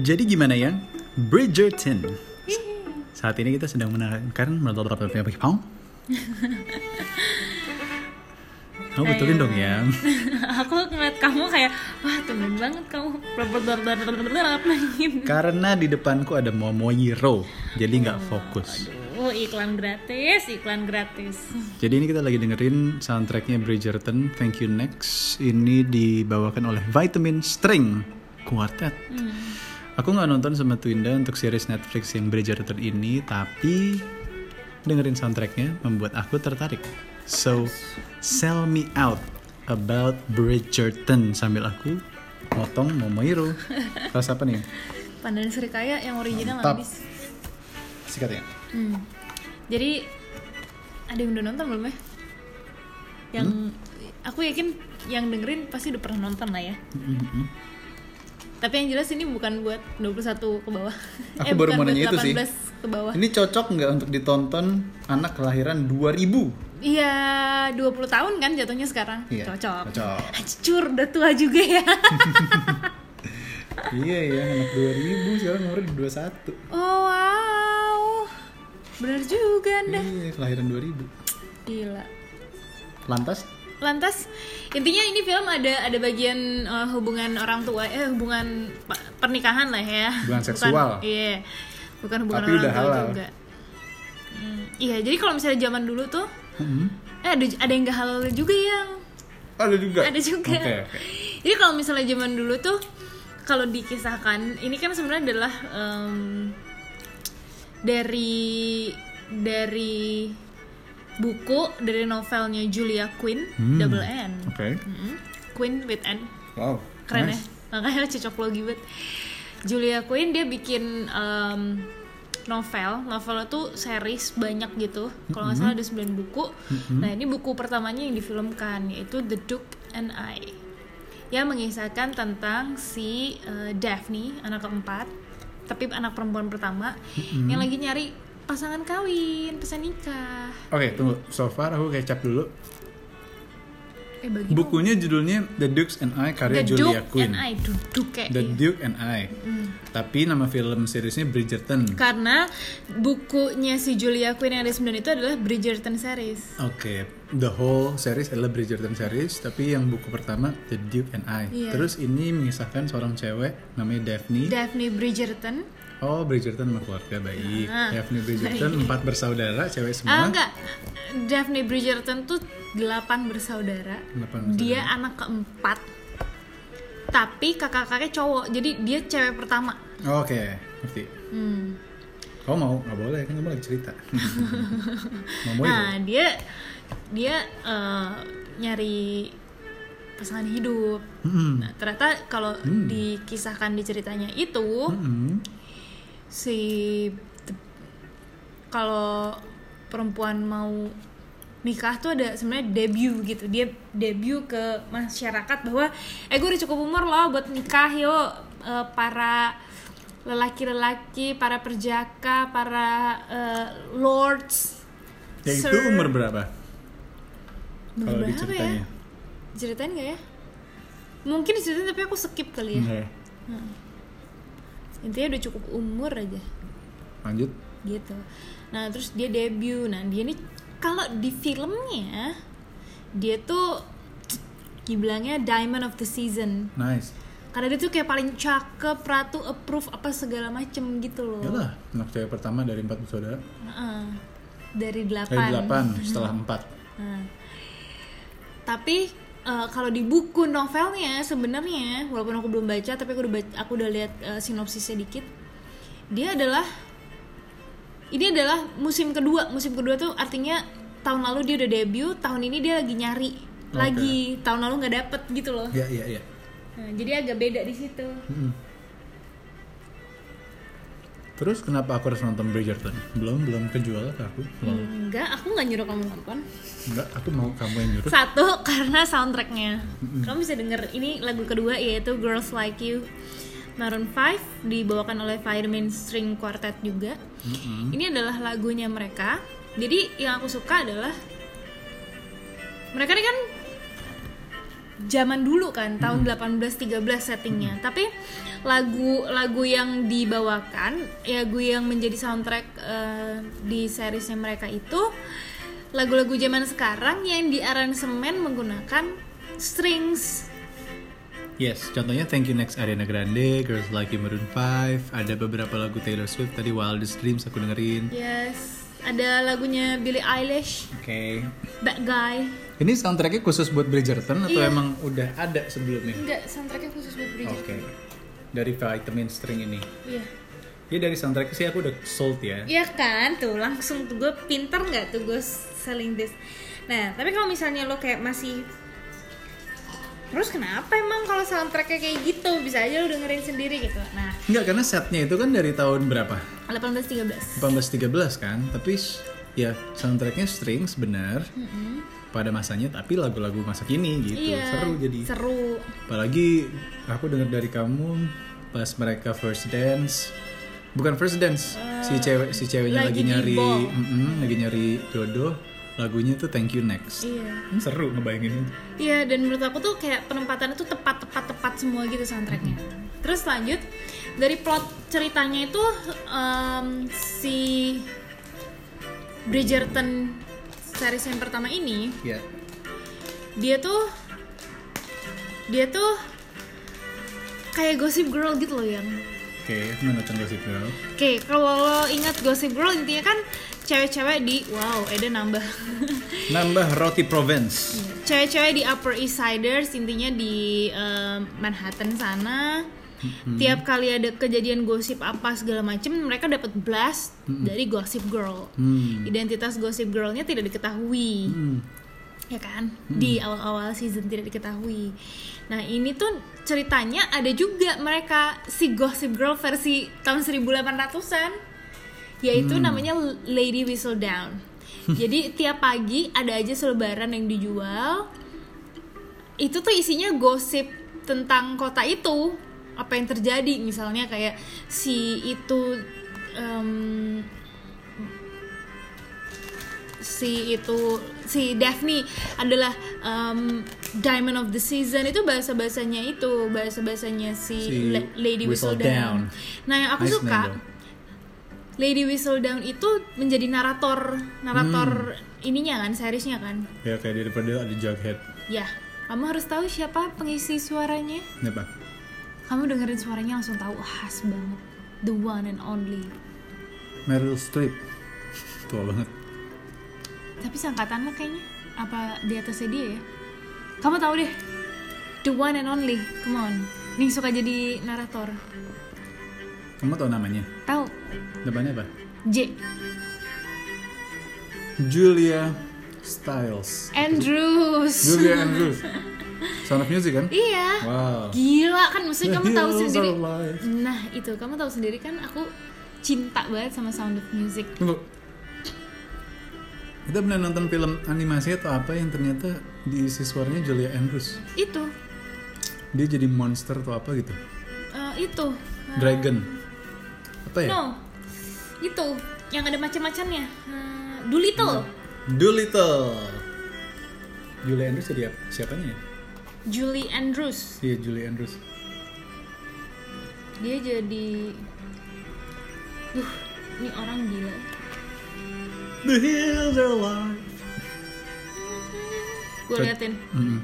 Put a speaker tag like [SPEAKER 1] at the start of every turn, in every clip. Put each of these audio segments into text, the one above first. [SPEAKER 1] Jadi gimana yang Bridgerton? Saat ini kita sedang menarikan Kamu betulin dong ya.
[SPEAKER 2] aku ngeliat kamu kayak wah temen banget kamu nangin
[SPEAKER 1] Karena di depanku ada Momoyiro, jadi nggak fokus.
[SPEAKER 2] oh iklan gratis iklan gratis
[SPEAKER 1] Jadi ini kita lagi dengerin soundtracknya Bridgerton, Thank You Next. Ini dibawakan oleh Vitamin String Quartet. Aku nggak nonton sama Twinda untuk series Netflix yang Bridgerton ini, tapi dengerin soundtracknya membuat aku tertarik. So, sell me out about Bridgerton sambil aku motong Momoiro. Kelas apa nih?
[SPEAKER 2] pandan serikaya yang original
[SPEAKER 1] Mantap.
[SPEAKER 2] habis
[SPEAKER 1] Sikat ya.
[SPEAKER 2] Hmm. jadi ada yang udah nonton belum ya yang
[SPEAKER 1] Hmm?
[SPEAKER 2] aku yakin yang dengerin pasti udah pernah nonton lah ya
[SPEAKER 1] Mm-mm.
[SPEAKER 2] tapi yang jelas ini bukan buat 21 ke bawah
[SPEAKER 1] Aku
[SPEAKER 2] Eh,
[SPEAKER 1] baru mau
[SPEAKER 2] bukan buat
[SPEAKER 1] nanya itu sih.
[SPEAKER 2] 18 ke bawah
[SPEAKER 1] Ini cocok nggak untuk ditonton anak kelahiran 2000?
[SPEAKER 2] Iya, 20 tahun kan jatuhnya sekarang.
[SPEAKER 1] Iya,
[SPEAKER 2] Cocok.
[SPEAKER 1] cocok.
[SPEAKER 2] Cur, udah tua juga ya.
[SPEAKER 1] iya ya anak 2000 sekarang umurnya 21
[SPEAKER 2] Oh, wow. Bener juga Anda.
[SPEAKER 1] iya kelahiran 2000
[SPEAKER 2] Gila.
[SPEAKER 1] lantas
[SPEAKER 2] Lantas intinya ini film ada ada bagian eh, hubungan orang tua eh hubungan pa- pernikahan lah ya.
[SPEAKER 1] Hubungan
[SPEAKER 2] Bukan-
[SPEAKER 1] seksual.
[SPEAKER 2] Iya. Bukan hubungan
[SPEAKER 1] Tapi
[SPEAKER 2] orang
[SPEAKER 1] udah
[SPEAKER 2] tua
[SPEAKER 1] halal.
[SPEAKER 2] juga. Hmm, iya, jadi kalau misalnya zaman dulu tuh
[SPEAKER 1] Hmm.
[SPEAKER 2] eh ada ada yang gak halal juga yang
[SPEAKER 1] ada juga
[SPEAKER 2] ada juga.
[SPEAKER 1] Oke, oke.
[SPEAKER 2] Jadi kalau misalnya zaman dulu tuh kalau dikisahkan ini kan sebenarnya adalah em, dari dari buku dari novelnya Julia Quinn
[SPEAKER 1] Hmm.
[SPEAKER 2] Double N.
[SPEAKER 1] Oke.
[SPEAKER 2] Mm-mm. Quinn with N.
[SPEAKER 1] wow
[SPEAKER 2] Keren
[SPEAKER 1] nice.
[SPEAKER 2] ya. Makanya cocok lo banget. Julia Quinn dia bikin em, novel, novel itu series banyak gitu. Kalau nggak salah
[SPEAKER 1] Mm-hmm.
[SPEAKER 2] ada 9 buku. Nah, ini buku pertamanya yang difilmkan yaitu The Duke and I. Yang mengisahkan tentang si eh, Daphne, anak keempat, tapi anak perempuan pertama
[SPEAKER 1] Mm-hmm.
[SPEAKER 2] yang lagi nyari pasangan kawin, pesan nikah.
[SPEAKER 1] oke tunggu so far aku kecap dulu
[SPEAKER 2] Eh bagi
[SPEAKER 1] bukunya judulnya The Dukes and I
[SPEAKER 2] The
[SPEAKER 1] karya
[SPEAKER 2] Duke
[SPEAKER 1] Julia Quinn
[SPEAKER 2] and I, Hmm. duduk kayak
[SPEAKER 1] The
[SPEAKER 2] iya.
[SPEAKER 1] Duke and I tapi nama film seriesnya Bridgerton oke
[SPEAKER 2] Karena bukunya si Julia Quinn yang ada 9 itu adalah Bridgerton series.
[SPEAKER 1] the whole series adalah Bridgerton series tapi yang buku pertama The Duke and I
[SPEAKER 2] Iya.
[SPEAKER 1] terus ini mengisahkan seorang cewek namanya Daphne
[SPEAKER 2] Daphne Bridgerton.
[SPEAKER 1] Oh, Bridgerton sama keluarga baik.
[SPEAKER 2] Ah.
[SPEAKER 1] Daphne Bridgerton empat bersaudara, cewek
[SPEAKER 2] Ah
[SPEAKER 1] semua.
[SPEAKER 2] enggak. Daphne Bridgerton tuh 8 bersaudara.
[SPEAKER 1] Delapan bersaudara.
[SPEAKER 2] Dia anak keempat. Tapi kakak-kakaknya cowok. Jadi dia cewek pertama.
[SPEAKER 1] Oke, ngerti.
[SPEAKER 2] Hmm.
[SPEAKER 1] Kamu mau? Nggak boleh, kan kamu lagi cerita. mau mau
[SPEAKER 2] Nah, dia dia eh, nyari pasangan hidup.
[SPEAKER 1] Hmm.
[SPEAKER 2] Nah, ternyata kalau dikisahkan di ceritanya
[SPEAKER 1] Hmm.
[SPEAKER 2] itu si te- kalau perempuan mau nikah tuh ada sebenarnya debut gitu dia debut ke masyarakat bahwa eh gue udah cukup umur loh buat nikah yuk Eh, para lelaki-lelaki para perjaka para eh, lords
[SPEAKER 1] Ya itu
[SPEAKER 2] sir-
[SPEAKER 1] umur berapa?
[SPEAKER 2] Umur
[SPEAKER 1] Kalau
[SPEAKER 2] berapa
[SPEAKER 1] di ceritanya.
[SPEAKER 2] ya? ceritain nggak ya mungkin diceritain tapi aku skip kali ya
[SPEAKER 1] Oke,
[SPEAKER 2] intinya udah cukup umur aja
[SPEAKER 1] Lanjut.
[SPEAKER 2] gitu nah terus dia debut nah dia nih kalau di filmnya dia tuh dibilangnya diamond of the season
[SPEAKER 1] Nice.
[SPEAKER 2] karena dia tuh kayak paling cakep ratu approve apa segala macem gitu loh
[SPEAKER 1] Yalah, anak cewek pertama dari empat bersaudara.
[SPEAKER 2] Heeh. dari
[SPEAKER 1] Dari
[SPEAKER 2] delapan Mm-hmm.
[SPEAKER 1] delapan setelah empat.
[SPEAKER 2] Nah. tapi eh, kalau di buku novelnya sebenarnya walaupun aku belum baca tapi aku udah baca- aku udah lihat eh, sinopsisnya dikit dia adalah ini adalah musim kedua musim kedua tuh artinya tahun lalu dia udah debut tahun ini dia lagi nyari lagi tahun lalu nggak dapet gitu loh
[SPEAKER 1] Ya, ya, ya.
[SPEAKER 2] Nah, jadi agak beda di situ
[SPEAKER 1] Terus kenapa aku harus nonton Bridgerton? Belum, belum kejual ke aku. Belum.
[SPEAKER 2] enggak aku nggak nyuruh kamu nonton
[SPEAKER 1] Enggak, aku mau kamu yang nyuruh.
[SPEAKER 2] Satu karena soundtracknya. Kamu bisa denger ini lagu kedua yaitu Girls Like You Maroon 5 dibawakan oleh Fireman String Quartet juga. Ini adalah lagunya mereka. Jadi yang aku suka adalah mereka ini kan zaman dulu kan tahun 1813 settingnya tapi lagu lagu yang dibawakan ya lagu yang menjadi soundtrack eh, di seriesnya mereka itu lagu-lagu zaman sekarang yang diaransemen menggunakan strings
[SPEAKER 1] Yes, contohnya Thank You Next Ariana Grande, Girls Like You Maroon 5, ada beberapa lagu Taylor Swift tadi Wildest Dreams aku dengerin. Oke.
[SPEAKER 2] yes ada lagunya Billie Eilish Bad Guy
[SPEAKER 1] Ini soundtracknya khusus buat Bridgerton atau
[SPEAKER 2] Iya.
[SPEAKER 1] emang udah ada sebelumnya?
[SPEAKER 2] enggak soundtracknya khusus buat
[SPEAKER 1] Oke.
[SPEAKER 2] Bridget
[SPEAKER 1] Dari vitamin string ini.
[SPEAKER 2] iya
[SPEAKER 1] Ya dari soundtrack sih aku udah sold ya.
[SPEAKER 2] Iya kan, tuh langsung tuh gue pinter nggak tuh gue selling this. Nah, tapi kalau misalnya lo kayak masih Terus kenapa emang kalau soundtracknya kayak gitu bisa aja lo dengerin sendiri gitu. Nah,
[SPEAKER 1] Enggak karena setnya itu kan dari tahun berapa?
[SPEAKER 2] 1813.
[SPEAKER 1] 1813 kan, tapi s- ya soundtracknya strings benar pada masanya, tapi lagu-lagu masa kini gitu
[SPEAKER 2] Mm-hmm. iya.
[SPEAKER 1] seru jadi.
[SPEAKER 2] Seru.
[SPEAKER 1] Apalagi aku dengar dari kamu pas mereka first dance, bukan first dance, si cewek si ceweknya lagi,
[SPEAKER 2] lagi di
[SPEAKER 1] nyari,
[SPEAKER 2] ball.
[SPEAKER 1] mm-mm, lagi nyari jodoh, lagunya tuh Thank You Next.
[SPEAKER 2] Iya.
[SPEAKER 1] Hmm, seru ngebayangin itu.
[SPEAKER 2] Iya, dan menurut aku tuh kayak penempatannya tuh tepat-tepat tepat semua gitu soundtracknya. Terus lanjut dari plot ceritanya itu em, si Bridgerton series yang pertama ini
[SPEAKER 1] Ya.
[SPEAKER 2] dia tuh dia tuh kayak gosip girl gitu loh yang
[SPEAKER 1] Oke, aku menonton Gossip Girl.
[SPEAKER 2] oke kalau lo ingat gosip girl intinya kan cewek-cewek di wow ada nambah
[SPEAKER 1] Nambah roti Provence.
[SPEAKER 2] cewek-cewek di Upper East Siders intinya di eh, Manhattan sana tiap kali ada kejadian gosip apa segala macem mereka dapat blast dari gosip girl
[SPEAKER 1] Hmm.
[SPEAKER 2] identitas gosip girlnya tidak diketahui
[SPEAKER 1] Hmm.
[SPEAKER 2] ya kan di awal-awal season tidak diketahui. Nah ini tuh ceritanya ada juga mereka si Gossip Girl versi tahun 1800-an yaitu
[SPEAKER 1] Hmm.
[SPEAKER 2] namanya Lady Whistledown. Jadi tiap pagi ada aja selebaran yang dijual. Itu tuh isinya gosip tentang kota itu apa yang terjadi misalnya kayak si itu em, si itu si Daphne adalah um, diamond of the season itu bahasa bahasanya itu bahasa bahasanya si,
[SPEAKER 1] Si
[SPEAKER 2] La- Lady
[SPEAKER 1] Whistledown.
[SPEAKER 2] Whistledown. Nah yang aku
[SPEAKER 1] Nice
[SPEAKER 2] suka
[SPEAKER 1] name, though.
[SPEAKER 2] Lady Whistledown itu menjadi narator narator
[SPEAKER 1] Hmm.
[SPEAKER 2] ininya kan seriesnya kan.
[SPEAKER 1] Ya kayak daripada ada Jughead.
[SPEAKER 2] Ya kamu harus tahu siapa pengisi suaranya.
[SPEAKER 1] Kenapa?
[SPEAKER 2] Kamu dengerin suaranya langsung tahu "Wah, khas banget the one and only.
[SPEAKER 1] Meryl Streep. Tua banget.
[SPEAKER 2] Tapi seangkatan lo kayaknya apa di atasnya dia ya? Kamu tahu deh. The one and only. Come on. Nih suka jadi narator.
[SPEAKER 1] Kamu tau namanya?
[SPEAKER 2] Tahu?
[SPEAKER 1] Depannya apa?
[SPEAKER 2] J.
[SPEAKER 1] Julia Stiles.
[SPEAKER 2] Andrews.
[SPEAKER 1] Julia Andrews. Sound of Music kan?
[SPEAKER 2] iya.
[SPEAKER 1] Wow. Iya,
[SPEAKER 2] Gila kan maksudnya
[SPEAKER 1] The
[SPEAKER 2] kamu tahu
[SPEAKER 1] hills
[SPEAKER 2] sendiri.
[SPEAKER 1] are alive.
[SPEAKER 2] Nah, itu kamu tahu sendiri kan aku cinta banget sama Sound of Music.
[SPEAKER 1] Tunggu. Kita pernah nonton film animasi atau apa yang ternyata diisi suaranya Julia Andrews.
[SPEAKER 2] Itu.
[SPEAKER 1] Dia jadi monster atau apa gitu.
[SPEAKER 2] Eh, itu.
[SPEAKER 1] Dragon. Apa ya?
[SPEAKER 2] No. Itu yang ada macam-macamnya. Eh, Doolittle.
[SPEAKER 1] Hmm. Doolittle. Julia Andrews jadi apa? siapanya ya?
[SPEAKER 2] Julie Andrews.
[SPEAKER 1] Iya, Julia Andrews.
[SPEAKER 2] dia jadi duh ini orang gila
[SPEAKER 1] The hills are alive.
[SPEAKER 2] gue
[SPEAKER 1] Cod-
[SPEAKER 2] liatin
[SPEAKER 1] Mm-mm.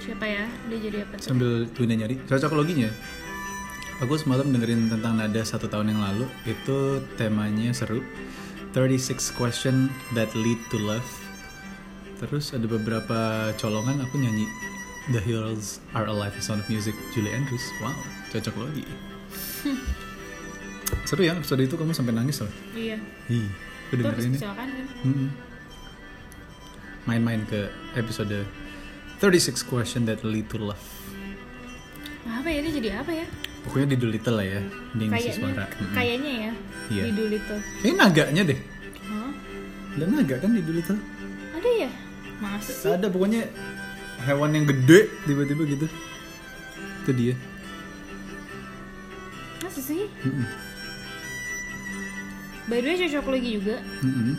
[SPEAKER 2] siapa ya dia jadi apa tuh
[SPEAKER 1] sambil Twina nyari cocokologinya aku semalam dengerin tentang nada satu tahun yang lalu itu temanya seru 36 question that lead to love terus ada beberapa colongan aku nyanyi The Hills Are Alive The Sound of Music Julie Andrews wow cocok logi seru ya episode itu kamu sampai nangis loh
[SPEAKER 2] iya
[SPEAKER 1] Ih, aku
[SPEAKER 2] terus
[SPEAKER 1] dengerin ya.
[SPEAKER 2] kecelakaan kan
[SPEAKER 1] Mm-mm. main-main ke episode 36 question that lead to love
[SPEAKER 2] apa ya dia jadi apa ya
[SPEAKER 1] Pokoknya di Doolittle lah ya, di ngisi
[SPEAKER 2] kayaknya
[SPEAKER 1] suara. Mm-mm.
[SPEAKER 2] kayaknya ya
[SPEAKER 1] Iya.
[SPEAKER 2] di Doolittle
[SPEAKER 1] Kayaknya naganya deh.
[SPEAKER 2] Hah?
[SPEAKER 1] Ada naga kan di Doolittle?
[SPEAKER 2] ada ya masa sih
[SPEAKER 1] Ada pokoknya hewan yang gede tiba-tiba gitu. Itu dia.
[SPEAKER 2] masa sih
[SPEAKER 1] Mm-mm.
[SPEAKER 2] by the way cocok lagi juga
[SPEAKER 1] Mm-mm.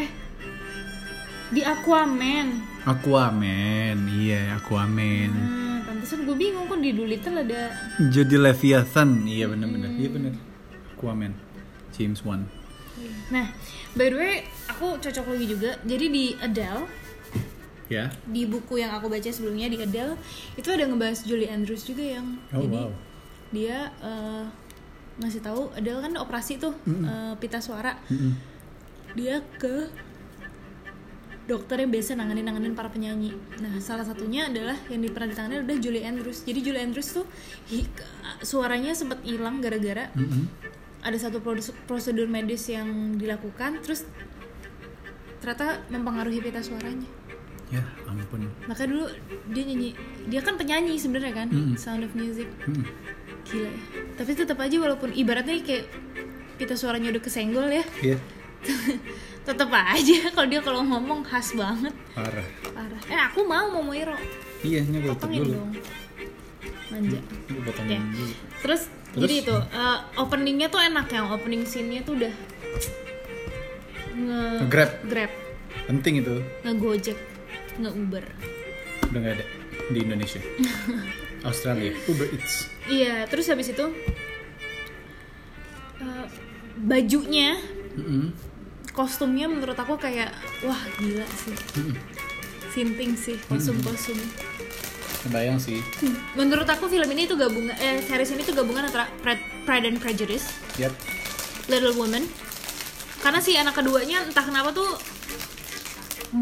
[SPEAKER 2] eh di Aquaman
[SPEAKER 1] Aquaman, iya Aquaman.
[SPEAKER 2] nah pantesan gue bingung kok di Doolittle ada
[SPEAKER 1] Jadi Leviathan, iya benar-benar, iya benar. Aquaman, James Wan.
[SPEAKER 2] nah by the way aku cocok lagi juga jadi di Adele
[SPEAKER 1] Ya.
[SPEAKER 2] di buku yang aku baca sebelumnya di Adele itu ada ngebahas Julie Andrews juga yang
[SPEAKER 1] Oh
[SPEAKER 2] jadi
[SPEAKER 1] wow.
[SPEAKER 2] dia eh, ngasih tahu Adele kan operasi tuh eh, pita suara
[SPEAKER 1] Mm-mm.
[SPEAKER 2] dia ke dokter yang biasa nanganin nanganin para penyanyi. Nah salah satunya adalah yang di- pernah ditangani udah Julie Andrews. Jadi Julie Andrews tuh hi- suaranya sempat hilang gara-gara
[SPEAKER 1] Mm-mm.
[SPEAKER 2] ada satu prodes- prosedur medis yang dilakukan, terus ternyata mempengaruhi pita suaranya.
[SPEAKER 1] Ya ampun.
[SPEAKER 2] Maka dulu dia nyanyi, dia kan penyanyi sebenarnya kan,
[SPEAKER 1] Mm-mm.
[SPEAKER 2] Sound of Music
[SPEAKER 1] Mm.
[SPEAKER 2] gila ya. Tapi tetap aja walaupun ibaratnya kayak pita suaranya udah kesenggol ya,
[SPEAKER 1] Iya.
[SPEAKER 2] tetap aja kalau dia kalau ngomong khas banget.
[SPEAKER 1] Parah.
[SPEAKER 2] Parah. Eh aku mau mau Moiro.
[SPEAKER 1] Iya, ini gue tutup
[SPEAKER 2] Potongin
[SPEAKER 1] dulu.
[SPEAKER 2] dong. Manja.
[SPEAKER 1] Gue potongin
[SPEAKER 2] Oke.
[SPEAKER 1] dulu.
[SPEAKER 2] Terus,
[SPEAKER 1] Terus?
[SPEAKER 2] jadi itu eh, openingnya tuh enak yang opening scene-nya tuh udah nge
[SPEAKER 1] Nge-grab.
[SPEAKER 2] grab,
[SPEAKER 1] Penting itu.
[SPEAKER 2] ngegojek, nge-Uber.
[SPEAKER 1] Udah nggak ada di Indonesia. Australia. Uber Eats.
[SPEAKER 2] Iya, terus habis itu eh, bajunya,
[SPEAKER 1] Mm-mm.
[SPEAKER 2] kostumnya menurut aku kayak wah gila sih.
[SPEAKER 1] Mm-mm.
[SPEAKER 2] Sinting sih kostum-kostum.
[SPEAKER 1] Kebayang sih.
[SPEAKER 2] Menurut aku film ini tuh gabungan eh series ini tuh gabungan antara Pre- Pride and Prejudice
[SPEAKER 1] Yap.
[SPEAKER 2] Little Women karena si anak keduanya entah kenapa tuh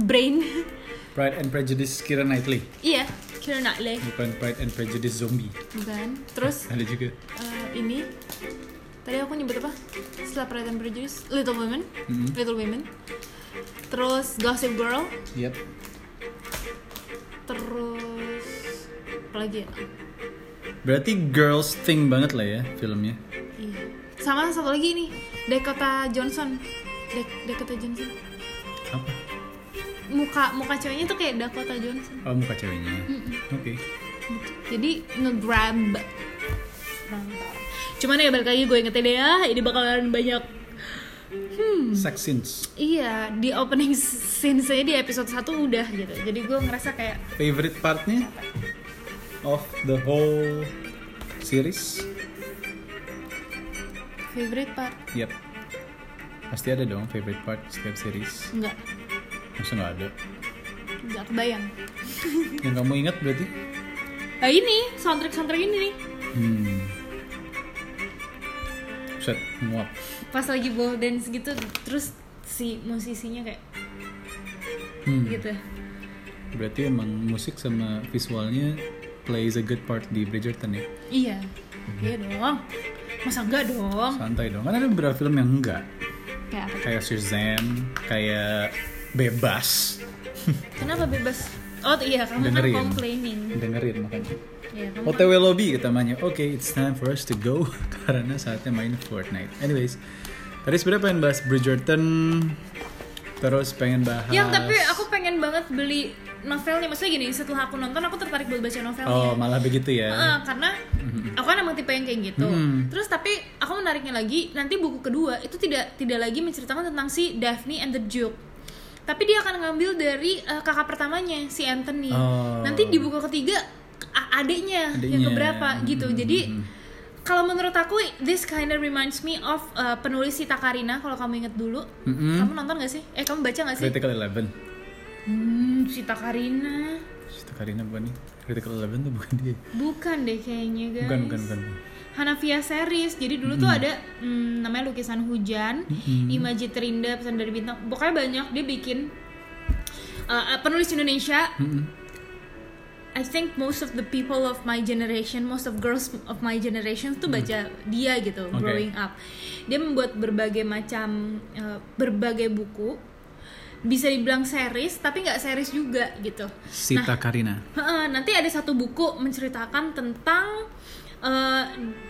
[SPEAKER 2] brain
[SPEAKER 1] Pride and Prejudice Kira Knightley.
[SPEAKER 2] iya Keira Knightley
[SPEAKER 1] Bukan Pride and Prejudice Zombie.
[SPEAKER 2] bukan terus
[SPEAKER 1] Ada juga.
[SPEAKER 2] eh, ini tadi aku nyebut apa setelah Pride and Prejudice Little Women
[SPEAKER 1] Mhm.
[SPEAKER 2] Little Women terus Gossip Girl
[SPEAKER 1] Yap.
[SPEAKER 2] terus apa lagi ya
[SPEAKER 1] Berarti girls thing banget lah ya filmnya.
[SPEAKER 2] iya sama satu lagi ini Dakota Johnson Dak- Dakota Johnson
[SPEAKER 1] Apa?
[SPEAKER 2] muka muka ceweknya tuh kayak Dakota Johnson
[SPEAKER 1] Oh, muka ceweknya. Oke.
[SPEAKER 2] jadi ngegrab Mantap. cuman ya balik lagi gue ingetin deh ya ini bakalan banyak
[SPEAKER 1] Sex scenes.
[SPEAKER 2] iya di opening scene saya di episode 1 udah gitu jadi gue ngerasa kayak
[SPEAKER 1] Favorite partnya of the whole series?
[SPEAKER 2] favorite part
[SPEAKER 1] Yap. Pasti ada dong favorite part setiap series.
[SPEAKER 2] enggak
[SPEAKER 1] Masa nggak ada?
[SPEAKER 2] enggak kebayang
[SPEAKER 1] Yang kamu ingat berarti?
[SPEAKER 2] nah ini soundtrack soundtrack ini nih
[SPEAKER 1] Hmm. Set, nguap.
[SPEAKER 2] pas lagi ball dance gitu terus si musisinya kayak
[SPEAKER 1] Hmm.
[SPEAKER 2] gitu
[SPEAKER 1] Berarti emang musik sama visualnya plays a good part di Bridgerton ya?
[SPEAKER 2] iya iya dong masa enggak dong
[SPEAKER 1] Santai dong. Kan ada beberapa film yang enggak.
[SPEAKER 2] kayak apa?
[SPEAKER 1] Kayak Shazam, kayak Bebas.
[SPEAKER 2] kenapa bebas oh iya kamu
[SPEAKER 1] Dengerin. Oh,
[SPEAKER 2] kan complaining
[SPEAKER 1] Dengerin makanya.
[SPEAKER 2] Iya, kamu kan-
[SPEAKER 1] OTW Lobby ketamanya. Oke, it's time for us to go karena saatnya main Fortnite. Anyways, tadi sebenarnya pengen bahas Bridgerton, terus pengen bahas.
[SPEAKER 2] Yang tapi aku pengen banget beli novelnya. Maksudnya gini, setelah aku nonton aku tertarik buat baca novelnya.
[SPEAKER 1] Oh, malah begitu ya.
[SPEAKER 2] Heeh, karena aku kan emang tipe yang kayak gitu.
[SPEAKER 1] Mm.
[SPEAKER 2] Terus tapi aku menariknya lagi nanti buku kedua itu tidak tidak lagi menceritakan tentang si Daphne and the Duke. Tapi dia akan ngambil dari eh, kakak pertamanya si Anthony.
[SPEAKER 1] Oh.
[SPEAKER 2] Nanti di buku ketiga a- adiknya,
[SPEAKER 1] Adiknya.
[SPEAKER 2] yang keberapa gitu.
[SPEAKER 1] Mm.
[SPEAKER 2] Jadi kalau menurut aku this kinda reminds me of eh, penulis Sita Karina kalau kamu inget dulu.
[SPEAKER 1] Mm-mm.
[SPEAKER 2] Kamu nonton gak sih? Eh kamu baca gak sih?
[SPEAKER 1] Critical Eleven.
[SPEAKER 2] Hmm, Sita Karina.
[SPEAKER 1] Itu Karina bukan nih. Critical Eleven tuh bukan dia.
[SPEAKER 2] Bukan deh kayaknya guys.
[SPEAKER 1] Bukan, bukan, bukan.
[SPEAKER 2] Hanafia series. Jadi dulu tuh ada mm, namanya lukisan hujan, Imaji Terindah, pesan dari bintang. Pokoknya banyak dia bikin uh, penulis Indonesia.
[SPEAKER 1] Mm-mm.
[SPEAKER 2] I think most of the people of my generation, most of girls of my generation tuh baca dia gitu,
[SPEAKER 1] Oke.
[SPEAKER 2] growing up. Dia membuat berbagai macam uh, berbagai buku. Bisa dibilang series, tapi nggak series juga gitu.
[SPEAKER 1] Sita Karina.
[SPEAKER 2] Heeh, nanti ada satu buku menceritakan tentang eh,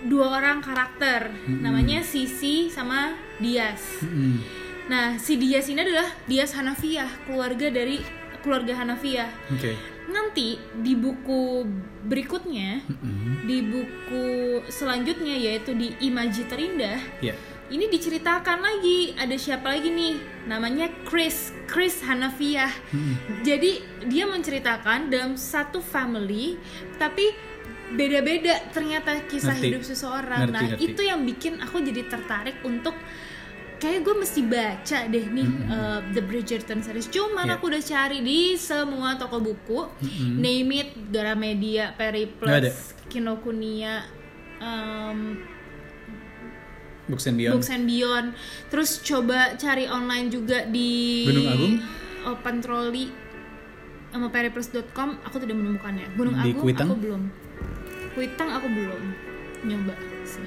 [SPEAKER 2] dua orang karakter namanya Sisi sama Dias.
[SPEAKER 1] Mm-mm.
[SPEAKER 2] Nah, si Dias ini adalah Dias Hanafiah, keluarga dari keluarga Hanafiah.
[SPEAKER 1] Oke.
[SPEAKER 2] Nanti di buku berikutnya,
[SPEAKER 1] Mm-mm.
[SPEAKER 2] di buku selanjutnya yaitu di Imaji Terindah,
[SPEAKER 1] Ya.
[SPEAKER 2] ini diceritakan lagi ada siapa lagi nih namanya Chris Chris Hanafiah
[SPEAKER 1] Hmm.
[SPEAKER 2] jadi dia menceritakan dalam satu family tapi beda-beda ternyata kisah
[SPEAKER 1] Ngerti.
[SPEAKER 2] hidup seseorang
[SPEAKER 1] Ngerti,
[SPEAKER 2] nah
[SPEAKER 1] ngerti.
[SPEAKER 2] itu yang bikin aku jadi tertarik untuk kayak gue mesti baca deh nih uh, The Bridgerton series cuman
[SPEAKER 1] Hmm, Iya. Hmm,
[SPEAKER 2] aku udah cari di semua toko buku name it Gramedia
[SPEAKER 1] Nggak ada.
[SPEAKER 2] Periplus Kinokuniya um,
[SPEAKER 1] Books and Beyond.
[SPEAKER 2] Books and Beyond. Terus coba cari online juga di
[SPEAKER 1] Gunung Agung?
[SPEAKER 2] Open Trolley sama periplus.com aku tidak menemukannya. Gunung
[SPEAKER 1] Di
[SPEAKER 2] Agung
[SPEAKER 1] Kuitang?
[SPEAKER 2] aku belum. Kuitang aku belum nyoba sih.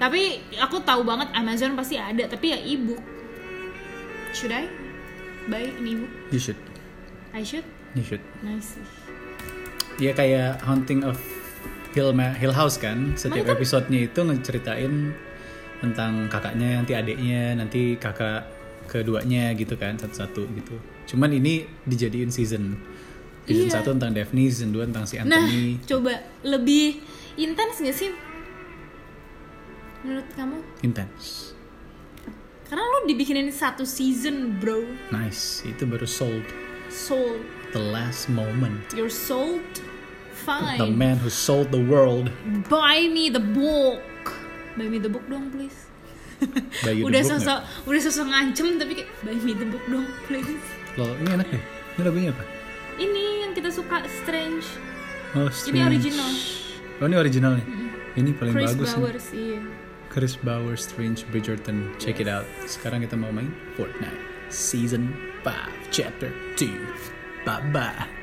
[SPEAKER 2] Tapi aku tahu banget Amazon pasti ada, tapi ya e-book. Should I buy an e-book?
[SPEAKER 1] You should.
[SPEAKER 2] I should.
[SPEAKER 1] You should.
[SPEAKER 2] Nice.
[SPEAKER 1] Dia Iya, kayak Haunting of Hill, Ma- Hill House kan. Setiap
[SPEAKER 2] Mana tuh?
[SPEAKER 1] episodenya itu ngeceritain tentang kakaknya, nanti adiknya, nanti kakak keduanya gitu kan satu-satu gitu. Cuman ini dijadiin season. Season
[SPEAKER 2] Iya.
[SPEAKER 1] satu tentang Daphne, season 2 tentang si
[SPEAKER 2] Nah,
[SPEAKER 1] Anthony.
[SPEAKER 2] coba lebih intens gak sih menurut kamu?
[SPEAKER 1] Nah. Intense.
[SPEAKER 2] Karena lu dibikinin satu season, bro.
[SPEAKER 1] Nice. Itu baru sold.
[SPEAKER 2] Sold.
[SPEAKER 1] The last moment.
[SPEAKER 2] You're sold.
[SPEAKER 1] The
[SPEAKER 2] Fine.
[SPEAKER 1] man who sold the world.
[SPEAKER 2] Buy me the book. Buy me the book dong, please.
[SPEAKER 1] Buy you Iya, the
[SPEAKER 2] udah
[SPEAKER 1] book nggak?
[SPEAKER 2] sosok, udah sosok ngancem tapi kayak buy me the book dong, please.
[SPEAKER 1] Loh, ini enak deh. Ini lagunya apa?
[SPEAKER 2] Ini yang kita suka Strange.
[SPEAKER 1] Oh, Strange.
[SPEAKER 2] original.
[SPEAKER 1] Oh, ini original nih. Ini paling
[SPEAKER 2] Chris
[SPEAKER 1] bagus nih.
[SPEAKER 2] Bowers, iya.
[SPEAKER 1] Chris Bauer, Strange Bridgerton. Check it out. Sekarang kita mau main Fortnite Season 5 Chapter 2. Bye-bye.